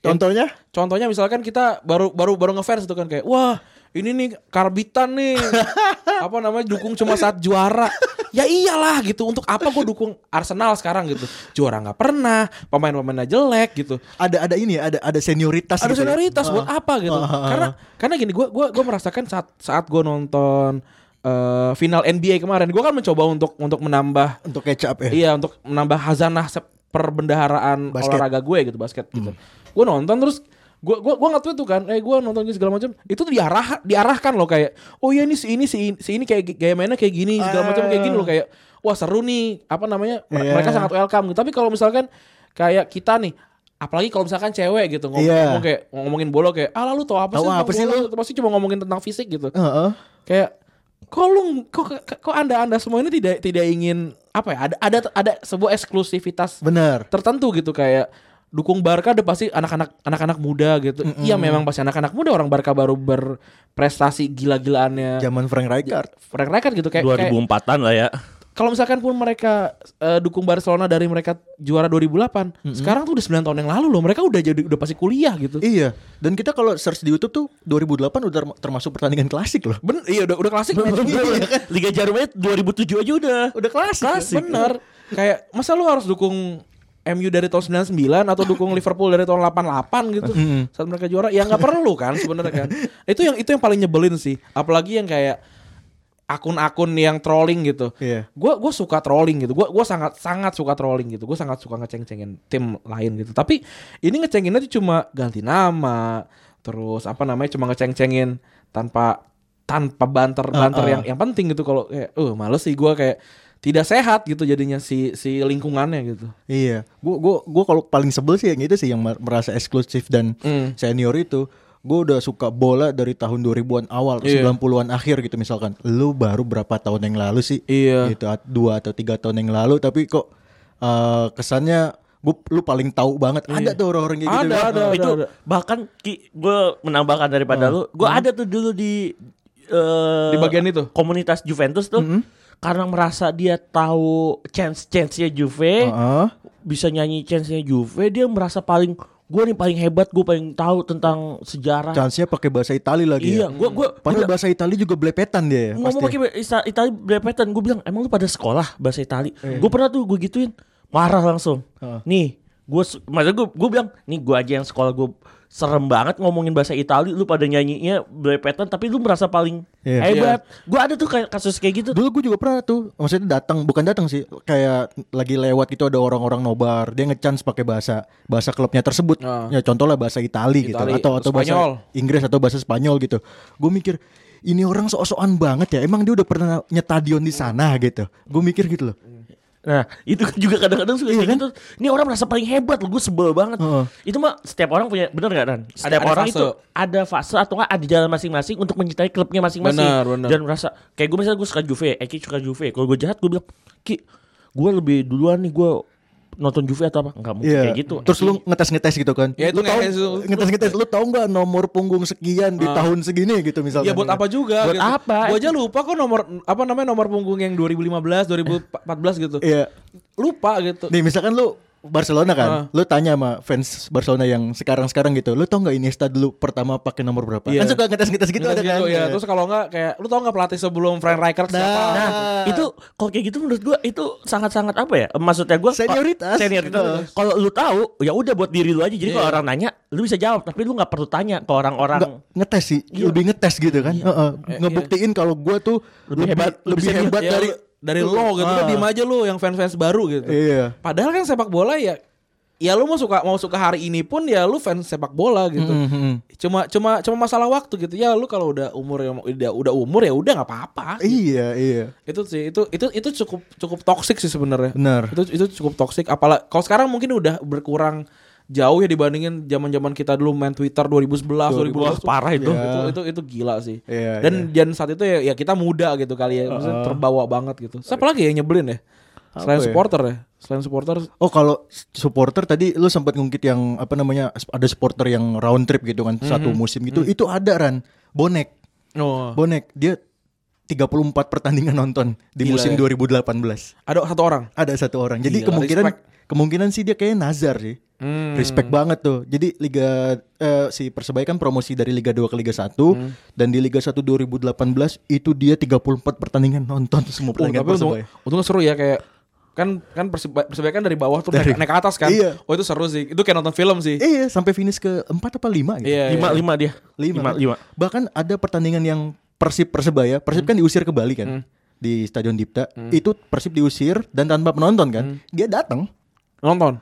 S3: Contohnya?
S2: Contohnya misalkan kita baru baru baru ngefans itu kan kayak wah ini nih karbitan nih apa namanya dukung cuma saat juara ya iyalah gitu untuk apa gue dukung Arsenal sekarang gitu juara nggak pernah pemain-pemainnya jelek gitu
S3: Ada ada ini ya, ada ada senioritas
S2: ada
S3: gitu ya. ah,
S2: senioritas
S3: Heeh.
S2: buat apa gitu karena karena gini gue gua gua merasakan saat saat gue nonton eh, final NBA kemarin gue kan mencoba untuk untuk menambah
S3: untuk kecap ya.
S2: iya untuk menambah hazanah se- perbendaharaan
S3: Basket. Hmm.
S2: olahraga gue gitu basket gitu gue nonton terus gue gue gue nggak tuh kan eh gue nonton gini segala macam itu tuh diarah diarahkan loh kayak oh iya ini si ini si ini, si ini kayak gi- gaya mainnya kayak gini segala macam kayak gini loh kayak wah seru nih apa namanya mer-
S3: Ah. Iya.
S2: mereka sangat welcome gitu tapi kalau misalkan kayak kita nih apalagi kalau misalkan cewek gitu ngomong,
S3: Iya.
S2: ngomong kayak ngomongin bola kayak ah lalu tau apa sih
S3: Tahu
S2: tentang
S3: apa sih
S2: bola? pasti cuma ngomongin tentang fisik gitu
S3: Heeh.
S2: kayak kok lu kok kok anda anda semua ini tidak tidak ingin apa ya ada ada ada sebuah eksklusivitas
S3: Benar.
S2: tertentu gitu kayak dukung Barca ada pasti anak-anak anak-anak muda gitu iya memang pasti anak-anak muda orang Barca baru berprestasi gila-gilaannya
S3: Zaman Frank Rijkaard.
S2: Frank Rijkaard gitu kayak, kayak
S4: 2004-an lah ya.
S2: kalau misalkan pun mereka eh, dukung Barcelona dari mereka juara 2008 sekarang tuh udah 9 tahun yang lalu loh mereka udah jadi udah pasti kuliah gitu
S3: Iya. Dan kita kalau search di YouTube tuh 2008 udah termasuk pertandingan klasik loh.
S2: ben iya udah udah klasik
S4: Liga Jarum aja 2007 aja udah.
S3: Udah klasik.
S2: Klasik ya? bener Kayak masa lu harus dukung MU dari tahun 99 atau dukung Liverpool dari tahun 88 gitu saat mereka juara ya nggak perlu kan sebenarnya kan itu yang itu yang paling nyebelin sih apalagi yang kayak akun-akun yang trolling gitu
S3: Iya.
S2: gue gue suka trolling gitu gue gue sangat sangat suka trolling gitu gue sangat suka ngeceng-cengin tim lain gitu tapi ini ngecenginnya tuh cuma ganti nama terus apa namanya cuma ngeceng-cengin tanpa tanpa banter-banter yang yang penting gitu kalau kayak eh males sih gue kayak tidak sehat gitu jadinya si si lingkungannya gitu
S3: Iya, gua gua gua kalau paling sebel sih yang itu sih yang mer- merasa eksklusif dan
S2: Hmm.
S3: senior itu. Gua udah suka bola dari tahun 2000-an awal,
S2: Iya.
S3: 90-an akhir gitu misalkan. Lu baru berapa tahun yang lalu sih?
S2: Iya.
S3: Gitu, at- dua atau tiga tahun yang lalu tapi kok eh, kesannya gua lu paling tahu banget. Ada tuh orang-orang kayak gitu.
S2: Iya. Ada, ada.
S4: Nah, itu bahkan gue menambahkan daripada lu, gue ada tuh dulu di eh,
S2: Di bagian itu?
S4: komunitas Juventus tuh karena merasa dia tahu chance chance nya Juve,
S3: Heeh.
S4: bisa nyanyi chance nya Juve, dia merasa paling gue nih paling hebat, gue paling tahu tentang sejarah.
S3: Chance-nya pakai bahasa Itali lagi.
S4: Iya,
S3: ya.
S4: gue gue
S3: Padahal bahasa Itali juga belepetan dia ya.
S4: ngomong
S3: pasti.
S4: pakai bahasa Itali belepetan gue bilang emang lu pada sekolah bahasa Itali gue pernah tuh gue gituin marah langsung
S3: Iya. Heeh.
S4: nih gue maksud gue gue bilang nih gue aja yang sekolah gue serem banget ngomongin bahasa Itali lu pada nyanyinya belepetan tapi lu merasa paling
S3: Iya.
S4: hebat gue ada tuh kayak kasus kayak gitu
S3: Dulu gue juga pernah tuh, maksudnya datang bukan datang sih, kayak lagi lewat gitu ada orang-orang nobar, dia ngechance pakai bahasa bahasa klubnya tersebut.
S2: Ah.
S3: Ya contoh lah bahasa Itali, gitu
S2: Itali,
S3: atau atau
S2: Spanyol.
S3: bahasa Inggris atau bahasa Spanyol gitu. Gue mikir ini orang sok-sokan banget ya. Emang dia udah pernah nyetadion di sana gitu. Gue mikir gitu loh.
S4: nah itu juga kadang-kadang suka kayak gitu ini orang merasa paling hebat lu gue sebel banget
S3: Heeh.
S4: itu mah setiap orang punya bener gak Dan
S2: ada
S4: setiap orang
S2: fase.
S4: itu ada fase atau nggak ada jalan masing-masing untuk mencintai klubnya masing-masing
S2: Benar, benar.
S4: dan merasa kayak gue misalnya gue suka Juve Eki suka Juve kalau gue jahat gue bilang Ki gue lebih duluan nih gue nonton Juve atau apa nggak mungkin
S3: Iya.
S4: kayak gitu
S3: Terus lu ngetes-ngetes gitu kan.
S2: Ya, itu
S3: Lu tahu-
S2: ngetes tuh.
S3: ngetes-ngetes lu tahu nggak nomor punggung sekian di tahun segini gitu misalnya.
S2: ya Ah. buat apa juga
S4: Buat apa?
S2: gue aja lupa kok nomor apa namanya nomor punggung yang 2015 2014 gitu
S4: Eh.
S3: Iya.
S2: lupa gitu
S3: Nih misalkan lu Barcelona kan,
S2: Ah.
S3: lu tanya sama fans Barcelona yang sekarang-sekarang gitu, lu tau nggak Iniesta dulu pertama pakai nomor berapa?
S2: Iya.
S3: Kan suka ngetes-ngetes gitu ada
S2: Terus
S3: kan?
S2: gitu, ya. Terus kalau enggak kayak lu tau enggak pelatih sebelum Frank Rijkaard siapa?
S4: nah
S3: Ah.
S4: itu kalau kayak gitu menurut gue itu sangat-sangat apa ya maksudnya gue
S3: Senioritas.
S4: senioritas kalau lu tahu ya udah buat diri lu aja jadi kalau orang nanya lu bisa jawab tapi lu nggak perlu tanya ke
S3: Nggak,
S4: orang-orang
S3: ngetes sih,
S4: Iya.
S3: lebih ngetes gitu kan?
S2: Eh,
S3: Heeh.
S2: iya.
S3: Ngebuktiin kalau gua tuh lebih,
S4: Lebih hebat,
S3: hebat, lebih
S4: lebih senior.
S3: hebat
S2: Ya,
S3: dari
S2: lu- dari lo gitu,
S3: Ah.
S2: udah diem aja lu yang fans-fans baru gitu.
S3: Iya.
S2: Padahal kan sepak bola ya ya lu mau suka mau suka hari ini pun ya lu fans sepak bola gitu.
S3: Mm, mm, mm.
S2: Cuma cuma cuma masalah waktu gitu. Ya lu kalau udah umur yang udah udah umur ya udah nggak apa-apa.
S3: Iya iya
S2: Itu sih itu itu itu cukup cukup toksik sih sebenarnya.
S3: benar.
S2: Itu itu cukup toksik apalagi kalau sekarang mungkin udah berkurang jauh ya dibandingin zaman-zaman kita dulu main Twitter 2011
S4: Wah,
S2: 2012
S4: parah itu.
S3: Iya.
S2: itu itu itu gila sih.
S3: Iya,
S2: dan dan saat itu ya, ya kita muda gitu kali ya, maksudnya terbawa banget gitu. Siapa lagi yang nyebelin ya? Selain
S3: Apa ya?
S2: supporter ya, selain supporter
S3: Oh kalau supporter tadi lu sempat ngungkit yang apa namanya ada supporter yang round trip gitu kan satu
S2: Mm-hmm.
S3: musim gitu itu ada Ran bonek
S2: oh.
S3: bonek dia 34 pertandingan nonton di
S2: Gila
S3: musim
S2: ya.
S3: 2018
S2: ada satu orang.
S3: ada satu orang jadi
S2: Gila,
S3: kemungkinan
S2: respect.
S3: kemungkinan sih dia kayak Nazar sih
S2: Hmm.
S3: respect banget tuh jadi liga eh, si Persebaya kan promosi dari Liga 2 ke Liga 1
S2: Hmm.
S3: dan di Liga 1 2018 itu dia 34 pertandingan nonton
S2: Oh,
S3: semua pertandingan
S2: tapi untung,
S3: Persebaya
S2: untungnya seru ya kayak kan kan persebaya, persebaya kan dari bawah tuh
S3: Dari-
S2: naik, naik ke atas kan.
S3: Iya.
S2: Oh itu seru sih. Itu kayak nonton film sih.
S3: Iya, sampai finish ke 4 apa 5 gitu.
S2: Iya.
S4: Lima
S2: iya.
S4: lima dia.
S3: lima,
S4: Lima
S3: kan?
S4: lima.
S3: bahkan ada pertandingan yang persib persebaya persib
S2: Hmm.
S3: kan diusir ke Bali kan di stadion Dipta itu persib diusir dan tanpa penonton kan
S2: Hmm.
S3: dia datang
S2: Nonton.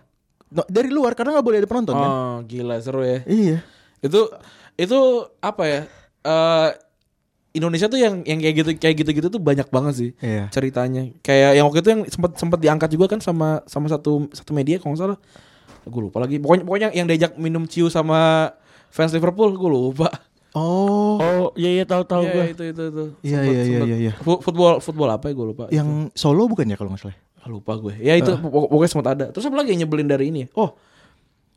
S3: No, dari luar karena nggak boleh ada penonton kan
S2: Oh, gila seru ya.
S3: iya
S2: Itu itu apa ya? Eh Indonesia tuh yang yang kayak gitu kayak gitu-gitu tuh banyak banget sih.
S3: iya
S2: ceritanya kayak yang waktu itu yang sempat sempat diangkat juga kan sama sama satu satu media kalau nggak salah gue lupa lagi pokoknya pokoknya yang diajak minum ciu sama fans Liverpool gue lupa
S3: oh
S4: Oh iya iya tahu tahu
S2: Iya,
S4: gue.
S2: itu itu itu
S3: Iya,
S2: Sempet-
S3: iya, iya,
S2: sempet.
S3: iya, iya.
S2: Fu- football football apa ya gue lupa
S3: yang Solo bukan ya kalau nggak salah
S2: Ah, lupa gue ya itu pokok- pokoknya sempat ada terus apa lagi yang nyebelin dari ini ya? oh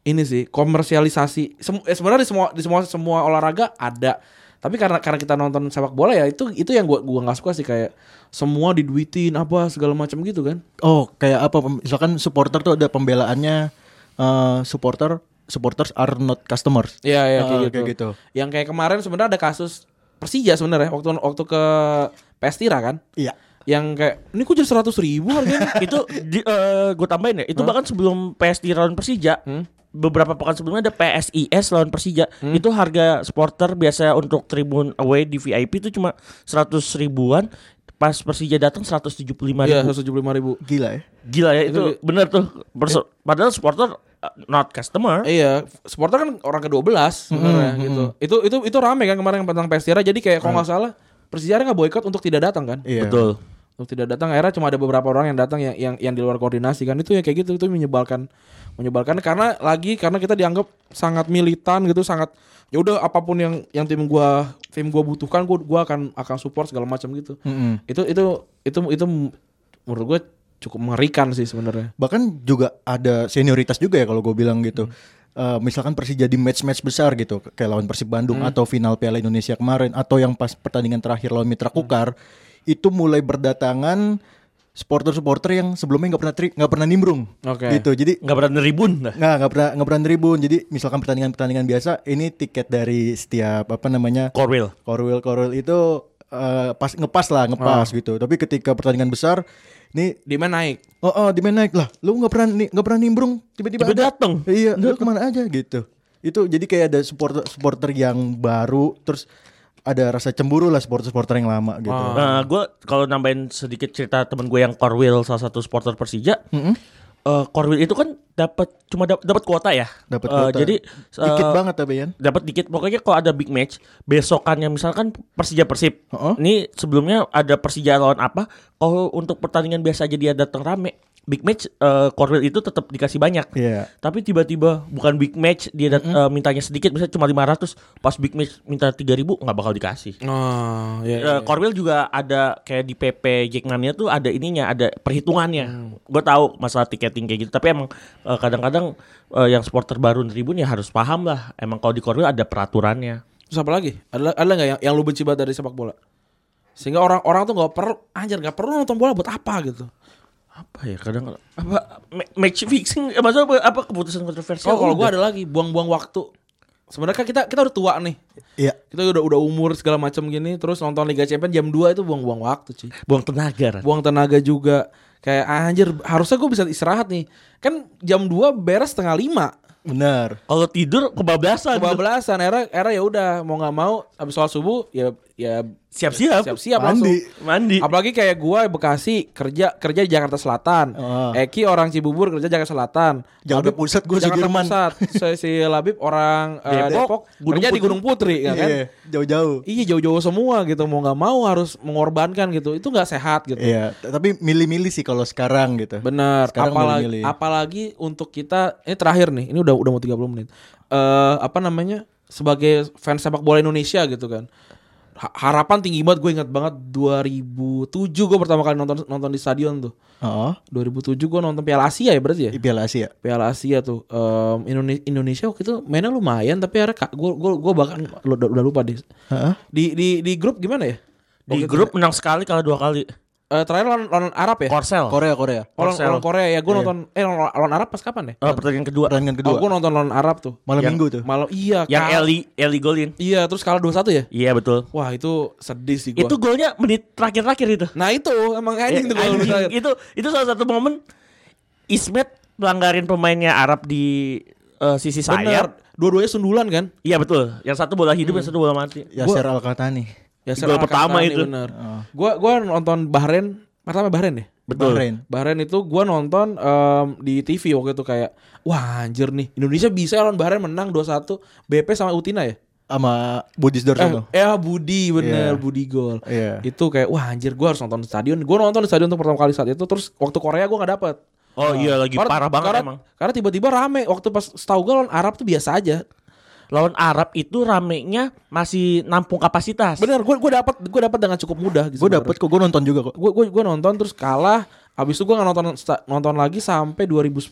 S2: ini sih komersialisasi Sem- eh, sebenarnya di semua di semua semua olahraga ada tapi karena karena kita nonton sepak bola ya itu itu yang gua gua nggak suka sih kayak semua diduitin apa segala macam gitu kan
S3: oh kayak apa pem- misalkan supporter tuh ada pembelaannya eh, supporter supporters are not customers
S2: Iya iya kayak,
S3: Ah,
S2: gitu.
S3: kayak gitu.
S2: Yang kayak kemarin sebenarnya ada kasus Persija sebenarnya waktu waktu ke Pestira kan.
S3: iya
S2: Yang kayak ini kok jadi seratus ribu harganya.
S4: itu Oh, di, gue tambahin ya. Itu bahkan sebelum PSD lawan Persija,
S2: Hmm?
S4: beberapa pekan sebelumnya ada PSIS lawan Persija. Itu harga supporter biasa untuk tribun away di VIP itu cuma 100 ribuan. Pas Persija datang 175 ribu.
S2: Iya seratus tujuh puluh lima ribu.
S3: gila ya
S4: Gila ya itu,
S2: Itu-
S4: bener tuh. Perso- padahal supporter uh, not customer.
S2: Iya, supporter kan orang ke 12 sebenarnya gitu. Itu itu itu rame kan kemarin tentang Pestira jadi kayak kalau nggak salah Persija nggak boikot untuk tidak datang kan?
S3: iya
S4: Betul.
S2: Untuk tidak datang akhirnya cuma ada beberapa orang yang datang yang yang, yang di luar koordinasi kan itu ya kayak gitu itu menyebalkan menyebalkan karena lagi karena kita dianggap sangat militan gitu sangat ya udah apapun yang yang tim gua tim gua butuhkan gua gua akan akan support segala macam gitu.
S3: Mm-mm.
S2: Itu itu itu itu menurut gua cukup mengerikan sih sebenarnya.
S3: bahkan juga ada senioritas juga ya kalau gue bilang gitu Eh, misalkan Persija di match-match besar gitu kayak lawan Persib Bandung atau final Piala Indonesia kemarin atau yang pas pertandingan terakhir lawan Mitra Kukar itu mulai berdatangan supporter-supporter yang sebelumnya nggak pernah tri- nggak pernah nimbrung
S2: Oke.
S3: gitu jadi
S4: Nggak pernah neribun
S2: Iya.
S4: dah.
S3: nggak nggak pernah nggak pernah tribun jadi misalkan pertandingan pertandingan biasa ini tiket dari setiap apa namanya
S4: Corwil.
S3: Korwil Korwil itu eh, pas ngepas lah ngepas gitu tapi ketika pertandingan besar ini
S2: Di mana naik?
S3: Oh, oh di naik lah. Lu nggak pernah ni- nggak pernah nimbrung tiba-tiba
S4: Tiba
S3: ada.
S4: dateng.
S3: Iya, lu kemana aja gitu. Itu jadi kayak ada supporter supporter yang baru terus ada rasa cemburu lah supporter-supporter yang lama gitu.
S4: Nah, gue kalau nambahin sedikit cerita temen gue yang Corwil salah satu supporter Persija. eh, Corwil itu kan dapat cuma dap- dapat kuota ya.
S3: Dapat
S4: Eh,
S3: kuota.
S4: jadi
S3: dikit
S4: eh,
S3: banget tapi kan.
S4: dapat dikit pokoknya kalau ada big match besokannya misalkan Persija Persib
S3: Heeh.
S4: ini sebelumnya ada Persija lawan apa kalau untuk pertandingan biasa aja dia datang rame big match eh, Corwil itu tetap dikasih banyak
S3: Iya.
S4: tapi tiba-tiba bukan big match dia dat- eh, mintanya sedikit misalnya cuma 500 pas big match minta 3000 nggak bakal dikasih
S2: Oh, ya.
S4: Eh, Corwil juga ada kayak di PP Jackmania tuh ada ininya, ada
S2: Hmm.
S4: perhitungannya. Gue tahu masalah tiketing kayak gitu, tapi emang eh, kadang-kadang eh, yang supporter baru tribun ya harus paham lah. Emang kalau di Corwil ada peraturannya.
S2: Terus apa lagi? Ada ada nggak yang, yang lu benci banget dari sepak bola? Sehingga orang-orang tuh nggak perlu anjir nggak perlu nonton bola buat apa gitu.
S4: Apa ya kadang apa ma- match fixing eh, maksudnya apa, apa keputusan kontroversial?
S2: Oh, kalau gua
S4: Udah.
S2: ada lagi buang-buang waktu. Sebenarnya kan kita kita udah tua nih.
S3: Iya.
S2: Kita udah udah umur segala macam gini terus nonton Liga Champions jam 2 itu buang-buang waktu, sih.
S4: buang tenaga. Ran.
S2: Buang tenaga juga. Kayak "Ah, anjir harusnya gue bisa istirahat nih. Kan jam 2 beres setengah 5.
S3: Benar.
S4: Kalau tidur kebablasan.
S2: Kebablasan era era ya udah mau nggak mau habis sholat subuh ya ya
S4: Siap-siap.
S2: siap-siap langsung.
S3: Mandi.
S4: Mandi.
S2: Apalagi kayak gua Bekasi kerja kerja di Jakarta Selatan.
S3: Oh.
S2: Eki orang Cibubur kerja Jakarta Selatan.
S3: Jakarta Pusat gua
S2: Jakarta
S3: Sudirman.
S2: Pusat. Si, si Labib orang eh,
S4: Depok,
S2: Depok,
S4: Gunung
S2: kerja di
S4: Putri.
S2: Gunung Putri ya kan.
S3: Iya, jauh-jauh.
S2: Iya jauh-jauh semua gitu mau nggak mau harus mengorbankan gitu. Itu nggak sehat gitu.
S3: Iya, t- tapi milih-milih sih kalau sekarang gitu.
S2: Benar.
S3: Sekarang
S2: Apalagi
S3: milih-milih.
S2: apalagi untuk kita ini terakhir nih. Ini udah udah mau 30 menit. Eh apa namanya? Sebagai fans sepak bola Indonesia gitu kan. Ha- Harapan tinggi banget gue ingat banget 2007 gue pertama kali nonton nonton di stadion tuh.
S3: Oh,
S2: 2007 gue nonton Piala Asia ya berarti ya.
S3: di Piala Asia.
S2: Piala Asia tuh Em, Indone- Indonesia waktu itu mainnya lumayan tapi akhirnya gue gue gue bahkan lu- udah, udah lupa deh.
S3: Heeh.
S2: Di di di grup gimana ya?
S4: Di grup menang sekali kalah dua kali.
S2: Eh, terakhir lawan, lawan Arab ya?
S4: Korsel.
S3: Korea, Korea.
S2: Lawan,
S4: Korsel.
S2: lawan Korea ya gue nonton eh lawan, lawan Arab pas kapan ya?
S4: Eh, pertandingan Iya. kedua.
S3: Pertandingan kedua.
S2: Oh, gue nonton lawan Arab tuh.
S3: Malam
S4: yang-
S3: Minggu tuh.
S2: Malam iya
S4: Yang
S2: kalah-
S4: Eli Eli golin.
S2: Iya, terus kalah 2-1 ya?
S4: Iya betul.
S2: Wah, itu sedih sih gua.
S4: Itu golnya menit terakhir-terakhir itu.
S2: Nah, itu emang anjing
S4: Eh,
S2: tuh gua
S4: anjing.
S2: bilang.
S4: itu itu salah satu momen Ismet pelanggarin pemainnya Arab di eh, sisi
S2: Bener.
S4: sayap.
S2: Dua-duanya sundulan kan?
S4: Iya betul. Yang satu bola hidup, yang satu bola mati.
S3: Yasser Al Katani.
S2: Ya, Serang
S4: Gol pertama
S2: Alcantara
S4: itu. Ah.
S2: Bener. Gua gua nonton Bahrain, pertama Bahrain deh.
S4: Betul.
S3: Bahrain.
S2: Bahrain itu gua nonton em, di TV waktu itu kayak wah anjir nih Indonesia bisa lawan Bahrain menang 2-1 BP sama Utina ya?
S3: sama Budis
S2: Eh,
S3: Dorsono.
S2: eh, Budi bener
S3: Iya.
S2: Budi gol.
S3: Iya.
S2: Itu kayak wah anjir gua harus nonton di stadion. Gua nonton di stadion untuk pertama kali saat itu terus waktu Korea gua nggak dapet
S4: Oh iya lagi parah banget
S2: karena,
S4: emang.
S2: Karena tiba-tiba rame waktu pas setahu gue lawan Arab tuh biasa aja.
S4: Lawan Arab itu ramenya masih nampung kapasitas.
S2: Bener, gue gue dapat gue dapat dengan cukup mudah. Gitu
S3: Gue dapet kok, gue nonton juga kok.
S2: Gue gue nonton terus kalah. Habis itu gue nggak nonton sta- nonton lagi sampai 2010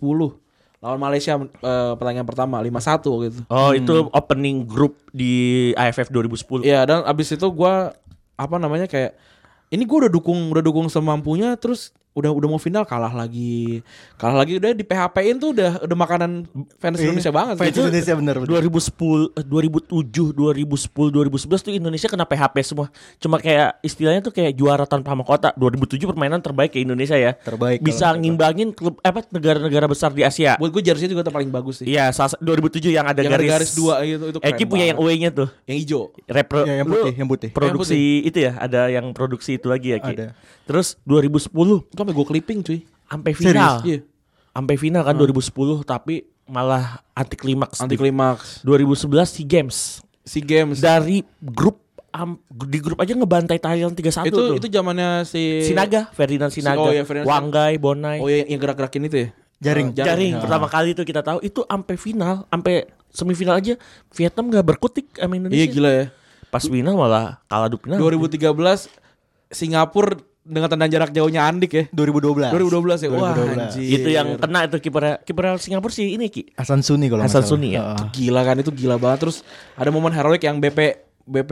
S2: lawan Malaysia eh, pertandingan pertama 5-1 gitu.
S4: Oh itu opening group di AFF 2010.
S2: Iya dan abis itu gue apa namanya kayak ini gue udah dukung udah dukung semampunya terus udah udah mau final kalah lagi kalah lagi udah di PHP-in tuh udah udah makanan fans
S4: Iya.
S2: Indonesia banget
S3: Fans
S2: gitu.
S3: Indonesia bener bener.
S4: 2010, eh, 2007, 2010, 2011 tuh Indonesia kena PHP semua. Cuma kayak istilahnya tuh kayak juara tanpa mahkota. 2007 permainan terbaik ke Indonesia ya.
S3: Terbaik
S4: Bisa
S3: kalau-
S4: ngimbangin klub eh, apa negara-negara besar di Asia.
S2: Buat gue jersey juga tuh paling bagus sih.
S4: Iya, salah sa- 2007 yang ada
S2: Yang ada
S4: garis,
S2: garis dua gitu, itu keren
S4: Eki punya yang away-nya tuh.
S2: Yang hijau.
S4: Repro,
S3: Ya, yang
S4: lu
S3: putih, yang putih.
S4: Produksi itu ya, ada yang produksi itu lagi ya, Ki.
S3: Ada.
S4: Terus 2010
S2: Itu sampai gue clipping cuy.
S4: sampai final.
S2: Iya.
S4: Sampai final
S3: Hmm.
S4: kan 2010 tapi malah anti klimaks.
S2: Anti klimaks.
S4: 2011 SEA Games.
S2: Si games.
S4: dari grup am- di grup aja ngebantai Thailand 3-1
S2: itu
S4: tuh.
S2: itu zamannya si
S4: Sinaga, Ferdinand Sinaga,
S2: oh iya, Ferdinand Sinaga.
S4: Wanggai, Bonai.
S2: Oh iya yang gerak-gerakin itu ya.
S3: Jaring.
S2: Eh,
S4: Jaring pertama kali itu kita tahu itu sampai final, sampai semifinal aja Vietnam gak berkutik sama
S2: Iya
S4: Indonesia.
S2: gila ya.
S4: Pas final malah kalah adu penalti.
S2: 2013 Singapura dengan tendang jarak jauhnya Andik ya.
S3: 2012.
S2: 2012 ya. Wah
S3: 2012.
S2: anjir.
S4: Itu yang kena itu kiper kiper Singapura sih ini Ki.
S3: Hasan Suni kalau nggak
S4: Hasan
S3: salah.
S4: Suni ya?
S3: Heeh.
S2: gila kan itu gila banget terus ada momen heroik yang BP BP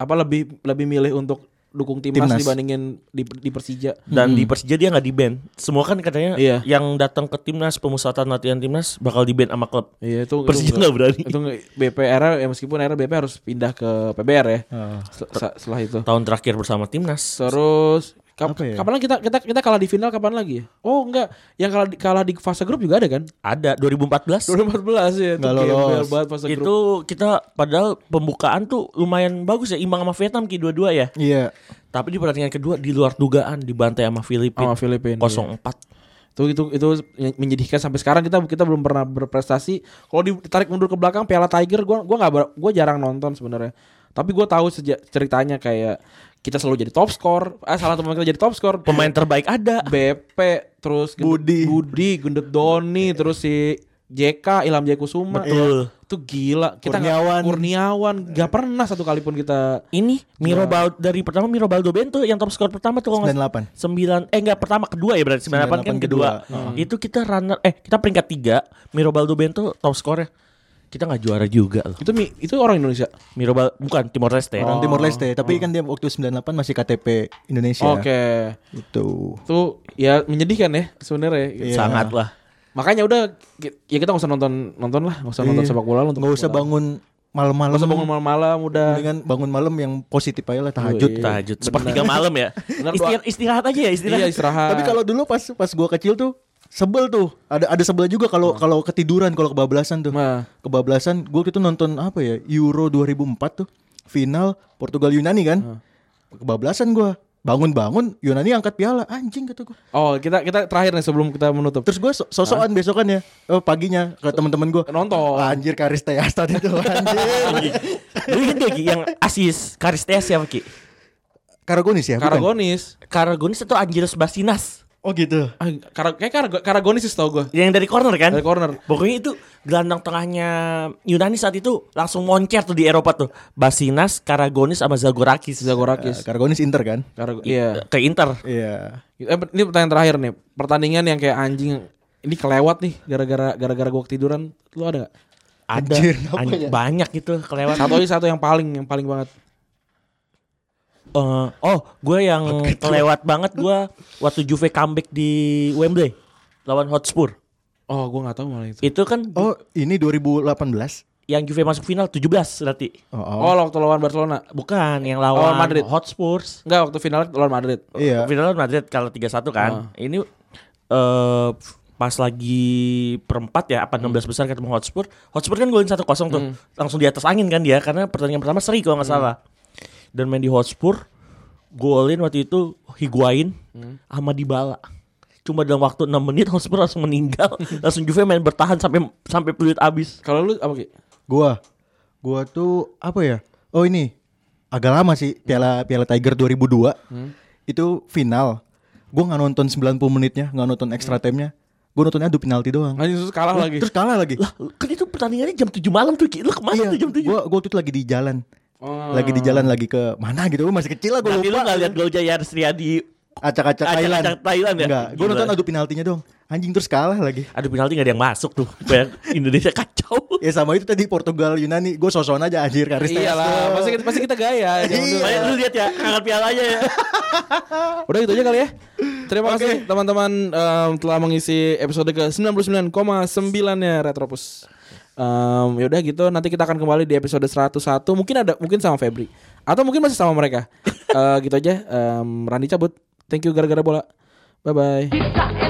S2: apa lebih lebih milih untuk dukung timnas,
S3: Timnas.
S2: dibandingin di, di Persija.
S4: Dan di Persija dia nggak di ban. Semua kan katanya
S2: Hmm. Iya.
S4: yang datang ke timnas pemusatan latihan timnas bakal di ban sama klub.
S2: Iya itu itu
S4: Persija
S2: enggak-
S4: nggak berani.
S2: Itu nggak- BP era ya meskipun era BP harus pindah ke PBR ya. Se- se- Setelah itu.
S4: Tahun terakhir bersama timnas.
S2: Terus kap-
S3: Apa ya?
S2: kapan lagi kita kita kita kalah di final kapan lagi? ya? Oh enggak, yang kalah di, kalah di fase grup juga ada kan?
S4: Ada 2014.
S2: 2014 ya.
S3: Nggak
S2: gembel
S3: lolos.
S2: banget fase grup.
S4: itu kita padahal pembukaan tuh lumayan bagus ya imbang sama Vietnam ki dua-dua ya
S3: Iya.
S4: tapi di pertandingan kedua di luar dugaan dibantai sama
S2: Sama
S4: Filipina
S2: Filipina,
S4: 0-4
S2: Itu itu itu menyedihkan sampai sekarang kita kita belum pernah berprestasi. Kalau ditarik mundur ke belakang Piala Tiger gua gua nggak ber- gua jarang nonton sebenarnya. Tapi gua tahu sejak ceritanya kayak kita selalu jadi top skor. Ah salah teman kita jadi top skor.
S4: pemain terbaik ada
S2: BP terus Gendut-
S3: Budi.
S2: Budi Gendut Doni terus si JK Ilham Jayakusuma
S4: Betul.
S2: Iya. itu gila kita nggak-
S3: Kurniawan.
S2: Kurniawan nggak pernah satu kali pun kita
S4: ini Miro Bal- dari pertama Miro Baldo Bento yang top skor pertama tuh kalau nggak-
S3: 98.
S4: 9 eh enggak pertama kedua ya berarti 98, kan
S3: 98
S4: kedua.
S3: kedua.
S4: Itu kita runner eh kita peringkat 3, Miro Baldo Bento top skornya. Kita nggak juara juga loh.
S2: itu mi- itu orang Indonesia
S4: Miro Bal- bukan Timor Leste.
S3: Orang Timor Leste, tapi kan dia waktu 98 masih KTP Indonesia.
S2: Oh.
S3: Gitu.
S2: oke
S3: Itu.
S2: itu ya menyedihkan ya sebenarnya
S3: Iya.
S4: Sangat lah.
S2: makanya udah ki- ya kita nggak usah nonton nonton lah nggak usah nonton
S3: Iya.
S2: sepak bola nonton
S3: Nggak usah
S2: bola.
S3: bangun
S2: nggak
S3: malam-malam.
S2: usah bangun malam-malam udah
S3: Dengan bangun malam yang positif aja lah tahajud.
S2: Iya,
S4: Tahajud sepertiga malam ya.
S2: Bener,
S4: Istirahat, istirahat aja ya istirahat.
S2: iya istirahat
S3: Tapi kalau dulu pas pas gua kecil tuh sebel tuh. Ada ada sebel juga kalau
S2: Ah.
S3: kalau ketiduran kalau kebablasan tuh.
S2: Nah.
S3: Kebablasan gua waktu itu nonton apa ya? Euro 2004 tuh. final Portugal Yunani kan.
S2: Ah.
S3: Kebablasan gua. Bangun-bangun Yunani angkat piala. Anjing kata gua.
S2: Oh, kita kita terakhir nih sebelum kita menutup.
S3: Terus gua so- sosokan besokannya eh, paginya ke teman-teman gua.
S2: Nonton.
S3: Oh, Anjir Karis Teasta itu anjir.
S4: Lu inget gak Ki yang asis Karistea siapa Ki?
S3: Karagonis ya? bukan?
S2: Karagonis.
S4: Karagonis itu Angelos Basinas
S3: Oh gitu.
S2: Ah, kara, kayak Karago- Karagonis sih tau
S3: Iya.
S2: gue.
S4: yang dari corner kan?
S2: Dari corner.
S4: Pokoknya itu gelandang tengahnya Yunani saat itu langsung moncer tuh di Eropa tuh. Basinas, Karagonis sama Zagorakis. Eh,
S3: Eh,
S2: Zagorakis.
S3: Karagonis Inter kan?
S2: Karago- iya.
S4: Ke Inter.
S3: Iya.
S2: Eh, ini pertanyaan terakhir nih. Pertandingan yang kayak anjing ini kelewat nih gara-gara gara-gara gua ketiduran. Lu ada gak?
S4: Ada
S3: Anjir, apa
S4: an-
S3: ya?
S4: banyak gitu kelewat.
S2: Satu aja satu yang paling yang paling banget.
S4: Eh, oh, gue yang kelewat banget gue waktu Juve comeback di Wembley lawan Hotspur.
S2: Oh, gua nggak tahu malah itu.
S4: Itu kan
S3: Oh, ini 2018.
S4: yang Juve masuk final 17 berarti.
S3: Oh, oh.
S2: Oh, waktu lawan Barcelona.
S4: Bukan yang
S2: Oh,
S4: lawan
S2: Madrid.
S4: Hotspur.
S2: Enggak, waktu final lawan Madrid.
S3: Iya. Ah.
S4: Final lawan Madrid kalau 3-1 kan. Ini eh pas lagi perempat ya apa
S3: Hmm.
S4: 16 besar ketemu Hotspur. Hotspur kan golin 1-0 tuh. Langsung di atas angin kan dia karena pertandingan pertama seri kalau
S3: Hmm.
S4: nggak salah. Dan main di Hotspur golin waktu itu Higuain
S3: Hmm.
S4: sama Dybala. Cuma dalam waktu 6 menit Hotspur langsung meninggal. langsung Juve main bertahan sampai sampai peluit habis.
S2: Kalau lu apa Ki?
S3: Gua gua tuh apa ya? Oh, ini agak lama sih Piala Piala Tiger 2002. Itu final. Gua nggak nonton 90 menitnya, nggak nonton extra time-nya. Gua nontonnya adu penalti doang.
S2: Anjing terus kalah lagi.
S3: Terus kalah lagi.
S4: Lah, kan itu pertandingannya jam 7 malam tuh. Ki. Lu kemana
S3: Iya,
S4: tuh jam 7?
S3: gua gua waktu itu lagi di jalan.
S2: Oh.
S3: Lagi di jalan lagi ke mana gitu. Gua masih kecil lah gua
S4: Tapi lu
S3: lupa.
S4: gak liat gol Jaya Arstriadi
S3: Acak-acak
S4: Acak-acak
S3: Thailand.
S4: Thailand ya?
S3: Enggak, gua
S4: Gila.
S3: nonton adu penaltinya doang. Anjing terus kalah lagi.
S4: Aduh penalti gak ada yang masuk tuh Kayak Indonesia kacau
S3: Ya sama itu tadi Portugal Yunani, gue sosokan aja anjir kan,
S4: Iya
S3: Karis
S2: Iyalah,
S3: Teas.
S2: Iya pasti kita, pasti kita gaya. Jangan dulu.
S4: Makanya Lu lihat ya Angkat pialanya ya
S2: Udah gitu aja kali ya. Terima kasih teman-teman em, telah mengisi episode ke 99,9-nya Retropus. Em yaudah gitu nanti kita akan kembali di episode 101 mungkin ada mungkin sama Febri atau mungkin masih sama Uh, Um, mereka. Eh gitu aja. Em Randi cabut. Thank you gara-gara bola. Bye bye.
S1: You've got to